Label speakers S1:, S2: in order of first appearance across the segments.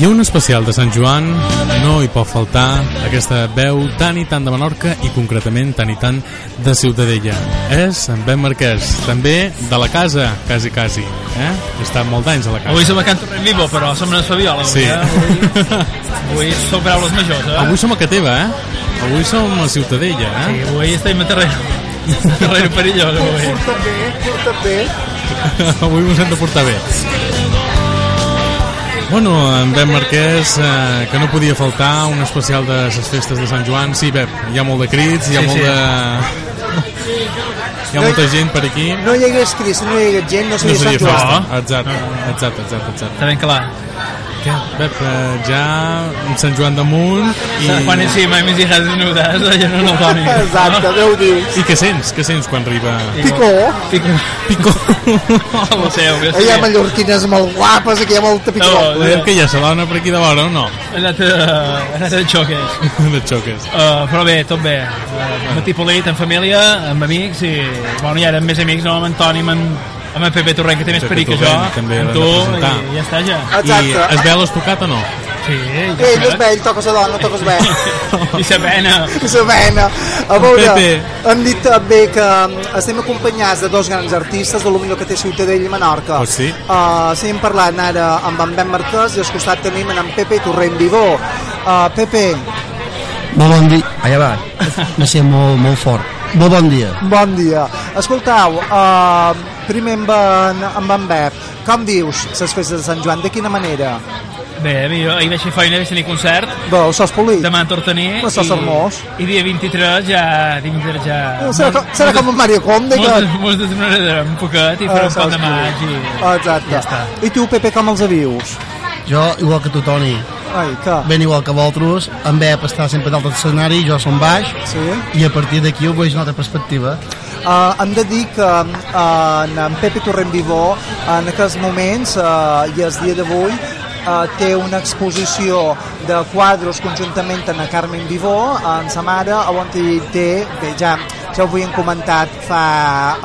S1: I un especial de Sant Joan no hi pot faltar aquesta veu tan i tant de Menorca i concretament tan i tant de Ciutadella. És en Ben Marquès, també de la casa, quasi quasi. Eh? Ha estat molt d'anys a la casa.
S2: Avui som a Can Torrent Vivo, però som una Fabiola.
S1: Sí.
S2: Eh? Avui, avui som paraules majors, eh?
S1: Avui som a Cateva, eh? Avui som a Ciutadella, eh?
S2: Sí, avui estem a terreno. terreno perillós, avui.
S3: Porta't bé, porta't bé.
S1: Avui us hem de portar bé. Bueno, en Pep Marquès, eh, que no podia faltar un especial de les festes de Sant Joan. Sí, Pep, hi ha molt de crits, hi ha
S2: Sí,
S1: molt
S2: sí.
S1: de... Hi ha molta gent per aquí.
S3: No hi hagués Cris, no hi hagués gent, no
S1: No
S3: seria
S1: seria
S3: Sant Joan.
S1: festa.
S2: No.
S1: Exacte, exacte, exacte, exacte.
S2: Està ben clar.
S1: Què? Pep, eh, ja en Sant Joan damunt i...
S2: I... Quan encima mis hijas desnudas, allò no no doni.
S3: Exacte, Déu diu.
S1: I què sents? Què sents quan arriba?
S3: Picó.
S2: Pico.
S1: Picó!
S2: Pico. seu, que
S3: Hi ha mallorquines molt guapes, aquí hi ha molta picó.
S2: No, no.
S1: Podem que ja se dona per aquí de vora o no?
S2: He anat, eh, he anat de xoques.
S1: De xoques.
S2: Uh, però bé, tot bé. Uh, matí polit, en família, amb amics i... Bueno, i ara amb més amics, no? amb en Toni, amb, en, amb en Pepe Torrent, que té més
S1: Pepe
S2: perill que jo,
S1: Torrent, també
S2: amb
S1: l'hem
S2: tu,
S1: de presentar.
S2: i ja està, ja.
S1: I
S3: Exacte.
S1: es veu l'estocat o no?
S2: Sí, ja
S3: Ell no
S2: està.
S3: és bé, ell toca la dona, no toques bé.
S2: I sa pena.
S3: La vena. A veure,
S1: Pepe.
S3: hem dit també que mm, estem acompanyats de dos grans artistes, de lo millor que té Ciutadella i Menorca.
S1: Pues sí.
S3: Uh, estem parlant ara amb en Ben Marquès i al costat tenim en, en Pepe Torrent Vivó. Uh, Pepe,
S4: Molt bon dia. Allà va. Va ser molt, molt fort. Molt bon dia.
S3: bon dia. Escoltau, uh, primer amb en, amb en Bep, com dius les festes de Sant Joan? De quina manera?
S2: Bé, millor, ahir vaig fer feina, vaig tenir concert,
S3: Veus, sos polit?
S2: demà a Tortoní.
S3: Però estàs
S2: i-
S3: hermós.
S2: I dia 23 ja... Dia 23 ja...
S3: Eh, Serà, serà com un Ah, Mario Conde que...
S2: Moltes, moltes donaré un poquet i faré un pal de maig i...
S3: Exacte.
S4: Ja està.
S3: I tu, Pepe, com els avius?
S4: Jo, igual que tu, Toni,
S3: Ai, que...
S4: ben igual que vosaltres, en Bep està sempre dalt de l'escenari, jo som baix,
S3: Sí.
S4: i a partir d'aquí ho veig una altra perspectiva.
S3: Uh, hem de dir que uh, en, en Pepe Torrent Vivó, en aquests moments uh, i el dia d'avui, uh, té una exposició de quadros conjuntament amb la Carmen Vivó, amb sa mare, on hi té, bé, ja, ja ho havíem comentat fa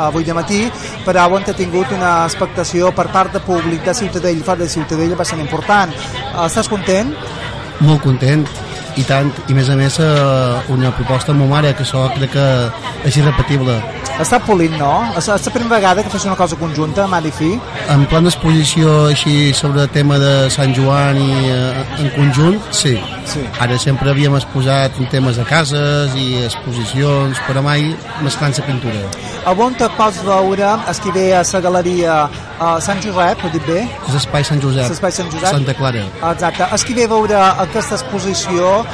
S3: avui de matí, però on ha tingut una expectació per part de públic de Ciutadella, fora de Ciutadella, bastant important. Uh, estàs content?
S4: Molt content, i tant, i a més a més eh, una proposta molt mare, que això crec que és irrepetible.
S3: Està polint, no? És, és la primera vegada que fas una cosa conjunta amb Ari Fi.
S4: En plan d'exposició així sobre el tema de Sant Joan i eh, en conjunt, sí.
S3: Sí.
S4: Ara sempre havíem exposat en temes de cases i exposicions, però mai mesclant la pintura.
S3: A on te pots veure es que ve a la galeria a Sant Josep, ho dic bé?
S4: És Espai Sant Josep.
S3: Espai Sant Josep.
S4: Santa Clara.
S3: Exacte. Es que ve a veure aquesta exposició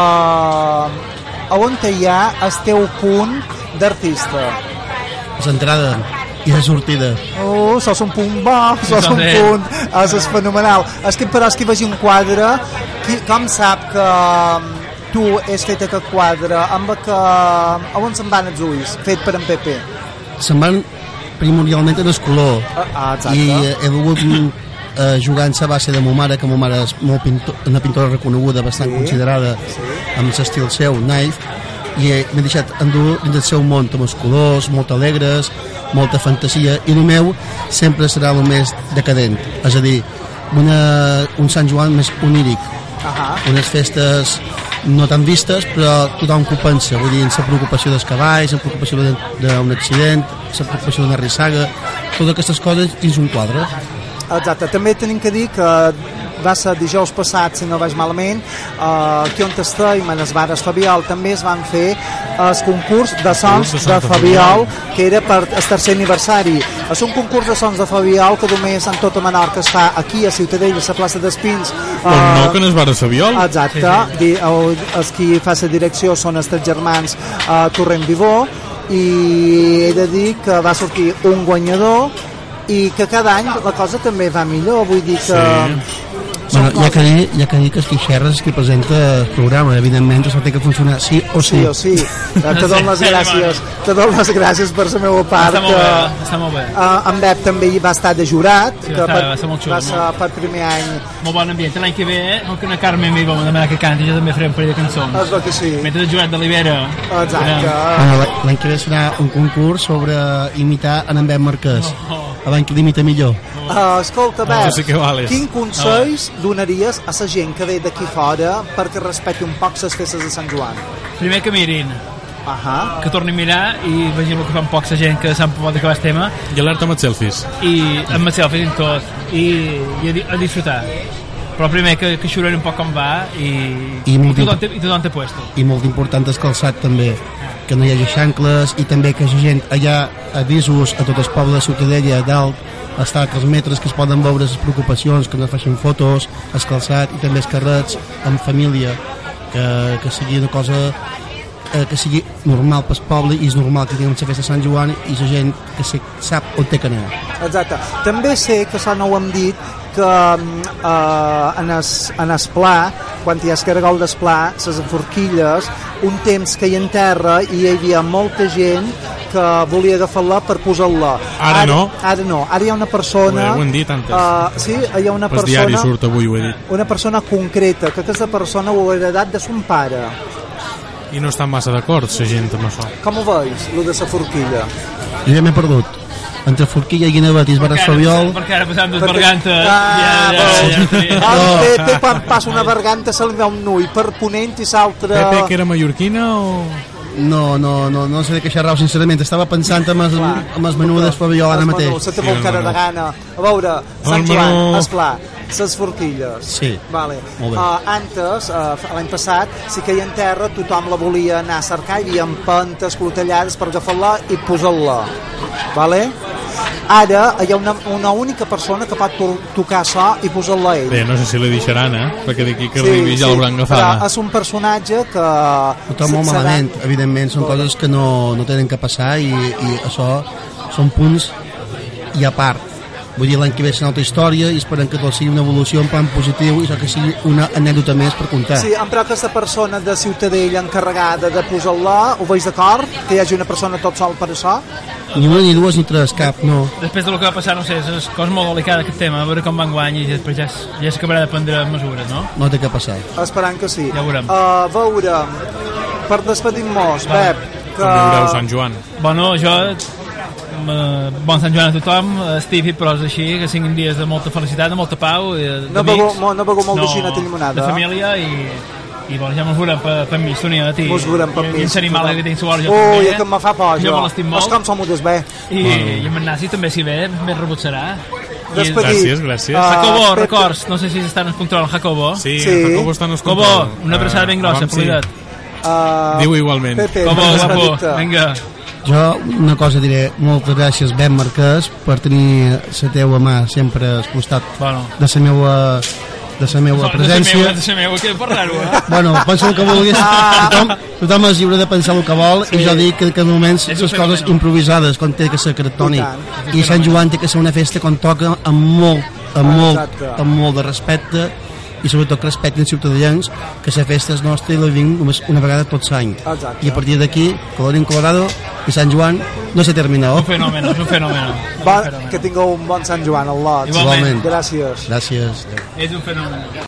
S3: eh, a on hi ha el teu punt d'artista.
S4: És entrada i la sortida.
S3: Oh, sos un punt bo, sos un
S2: També.
S3: punt, és, és fenomenal. És que però és que vegi un quadre, qui, com sap que mm, tu has fet aquest quadre, amb que, a on se'n van els ulls, fet per en Pepe?
S4: Se'n van primordialment en el color.
S3: Ah, exacte.
S4: I eh, he volgut eh, jugar en la base de ma mare, que ma mare és molt pintor, una pintora reconeguda, bastant sí. considerada, sí. amb l'estil seu, Knife, i eh, m'he deixat endur dins del seu món amb els colors, molt alegres, molta fantasia, i el meu sempre serà el més decadent, és a dir, una, un Sant Joan més oníric,
S3: Ahà.
S4: unes festes no tan vistes, però tothom compensa, vull dir, amb la preocupació dels cavalls, amb la preocupació de- d'un accident, amb la preocupació d'una rissaga, totes aquestes coses dins un quadre.
S3: Exacte, també tenim que dir que va ser dijous passat, si no vaig malament, eh, aquí on estem, a les bares Fabiol, també es van fer el concurs de sons
S1: Concurs de
S3: de
S1: sons de
S3: Fabiol, que era per el tercer aniversari. És un concurs de sons de Fabiol que només en tota Menorca es fa aquí, a Ciutadella, a la plaça d'Espins.
S1: Com no, que no es va Sabiol?
S3: Exacte, sí, sí. els qui fa la direcció són els tres germans a Torrent Vivó i he de dir que va sortir un guanyador i que cada any la cosa també va millor, vull dir que... Sí.
S4: Bueno, ja que dir, ja que dir que Esquixerra és qui presenta el programa, evidentment això té que funcionar sí o sí.
S3: Sí o sí, Eh, te dono les
S2: Sí,
S3: gràcies, te dono les gràcies per la meva part.
S2: Està molt bé,
S3: Ah, que-
S2: està molt bé.
S3: Eh, en Bep també hi va estar de jurat,
S2: Sí, va estar- va ser molt xulo,
S3: va ser
S2: molt.
S3: per primer any,
S2: Molt bon ambient. L'any que ve, com que una Carme m'hi va demanar que canti, jo també faré un parell de cançons.
S3: es veu que sí,
S2: Mentre el Joan de l'Ibera...
S3: exacte.
S4: Ah. Bueno, l'any- L'any que ve serà un concurs sobre imitar en Envem Marquès.
S2: Oh.
S4: Abans que l'imita millor.
S2: Era-
S3: Uh, escolta,
S1: No,
S3: Bert,
S1: sí que vales.
S3: quin consells donaries a la gent que ve d'aquí fora perquè respecti un poc les festes de Sant Joan?
S2: Primer que mirin,
S3: Ahà.
S2: que torni a mirar i vegin el que fan poca gent que s'han pogut acabar el tema
S1: I alerta amb els selfies.
S2: i amb el selfie i tot i, i a, di- a disfrutar però primer que, que xuren un poc com va i,
S4: I molt
S2: tothom, té, i tothom té puesto
S4: i molt important descalçat també que no hi hagi xancles i també que hi hagi gent allà avisos a tot el poble de Ciutadella a dalt està que els metres que es poden veure les preocupacions que no facin fotos escalçat i també els carrets amb família que, que sigui una cosa eh, que sigui normal pel poble i és normal que tinguem la festa de Sant Joan i la gent que se sap on té que anar
S3: Exacte. També sé que això no ho hem dit, que eh, en, es, en es pla, quan hi ha escargol d'esplà, les forquilles, un temps que hi en terra i hi havia molta gent que volia agafar-la per posar-la.
S1: Ara no.
S3: Ara no. Ara hi ha una persona...
S1: Ho hem dit antes.
S3: eh, sí, hi ha una
S1: Pels
S3: persona...
S1: diaris surt avui, ho he dit.
S3: una persona concreta, que aquesta persona ho ha heredat de son pare.
S1: I no estan massa d'acord, la gent, amb això.
S3: Com ho veus, lo de la forquilla?
S4: jo ja m'he perdut entre Forquilla i Guinevet i es Barat Fabiol
S2: perquè ara passàvem dos
S3: Perquè-
S2: bergantes
S3: Ah,
S2: ja, ja, ja,
S3: veus?
S2: ja,
S3: Ara
S4: No.
S3: Pepe, quan passa una berganta, se'l veu un ull per ponent i s'altre...
S1: Pepe, que era mallorquina o...?
S4: No, no, no, no sé de què xerrau, sincerament. Estava pensant en les,
S3: Clar.
S4: en les menudes Fabiol ara
S3: Es menú,
S4: mateix.
S3: Se té
S1: Sí,
S3: molt
S1: el
S3: cara de
S1: menú.
S3: gana. A veure, Sant
S1: El
S3: Joan,
S1: menú.
S3: esclar, ses forquilles.
S4: Sí,
S3: Vale.
S4: molt bé.
S3: Uh, antes, uh, l'any passat, sí que hi en terra tothom la volia anar a cercar, hi havia pentes, clotellades per agafar-la i posar-la. Vale? Ara hi ha una, una única persona que pot to- tocar això i posar-la a ell.
S1: Bé, no sé si la deixaran, eh? Perquè d'aquí que arribi ja l'hauran
S3: Però
S1: agafada.
S3: és un personatge que...
S4: Tothom molt
S3: serà-
S4: malament, evidentment, són coses que no, no tenen que passar i, i això són punts i a part. Vull dir, l'any que ve serà una altra història i esperem que tot sigui una evolució en plan positiu i això que sigui una anècdota més per
S2: Ah.
S4: contar.
S3: Sí, em però aquesta persona de Ciutadella encarregada de posar-la, ho veus d'acord? Que hi hagi una persona tot sol per això?
S4: Ni una, ni dues, ni tres, cap, no.
S2: després del que va passar, no sé, és una cosa molt delicada aquest tema, a veure com van guany i després ja, es- ja s'acabarà de prendre mesures, no?
S4: No té que passar.
S3: Esperant que sí.
S2: Ja ho veurem.
S3: Uh, veurem. Per despedir-nos, Pep, que...
S2: Doncs
S1: Com veureu Sant Joan.
S2: Bueno, jo... eh, Bon Sant Joan a tothom, estivi, però és així, que siguin dies de molta felicitat, de molta pau, eh,
S3: No
S2: d'amics,
S3: begueu mo- no begueu molt de xineta i limonada,
S2: De
S3: eh?
S2: família i... I bueno, ja mos veurem per, per mi, Sonia, a ti.
S3: Mos veurem per
S2: I-
S3: mi.
S2: I en Xerimal, que tinc suor, jo
S3: Ui,
S2: també.
S3: Oh,
S2: eh?
S3: que em fa por,
S2: jo.
S3: jo.
S2: Jo me l'estim molt.
S3: És com som des bé.
S2: I, I en Nasi també, si ve, més rebut serà. I-
S3: Despedir.
S1: Gràcies, gràcies.
S3: Ah,
S2: Jacobo,
S3: Pepe.
S2: records, no sé si estan en control, Jacobo.
S1: Sí,
S3: Sí.
S1: Jacobo està en el
S2: Jacobo,
S1: control. Ah,
S2: una abraçada ben grossa,
S1: Abans
S2: uh, polida't.
S3: Uh,
S1: Diu igualment.
S3: Pepe,
S2: Jacobo,
S3: per
S2: Jacobo,
S3: despedir-te.
S2: vinga.
S4: Jo una cosa diré, moltes gràcies Ben Marquès per tenir la teua mà sempre al costat
S2: Bueno.
S4: de la meua, de la meua presència.
S2: No sé meu, no sé meu, que parlar-ho, eh?
S4: Bueno, pensa el que vulguis. Tothom, tothom és lliure de pensar el que vol sí. i jo dic que en aquests moments
S2: És un
S4: les coses
S2: fenomen.
S4: improvisades, com té que ser cractònic.
S3: I tant.
S4: I Sant Joan té que ser una festa com toca amb molt, amb molt,
S3: Exacte.
S4: amb molt de respecte i sobretot que respectin els ciutadans que la festa és nostra i la vinc només una vegada tot l'any.
S3: Exacte.
S4: I a partir d'aquí, Colorín Colorado i Sant Joan no se oh? terminó.
S2: Un fenómeno, es un fenómeno. Es un
S3: Va,
S2: fenómeno.
S3: que tingueu un bon Sant Joan, al lot.
S2: Igualment.
S3: Gràcies.
S4: Gràcies. Adéu.
S2: Es un fenómeno.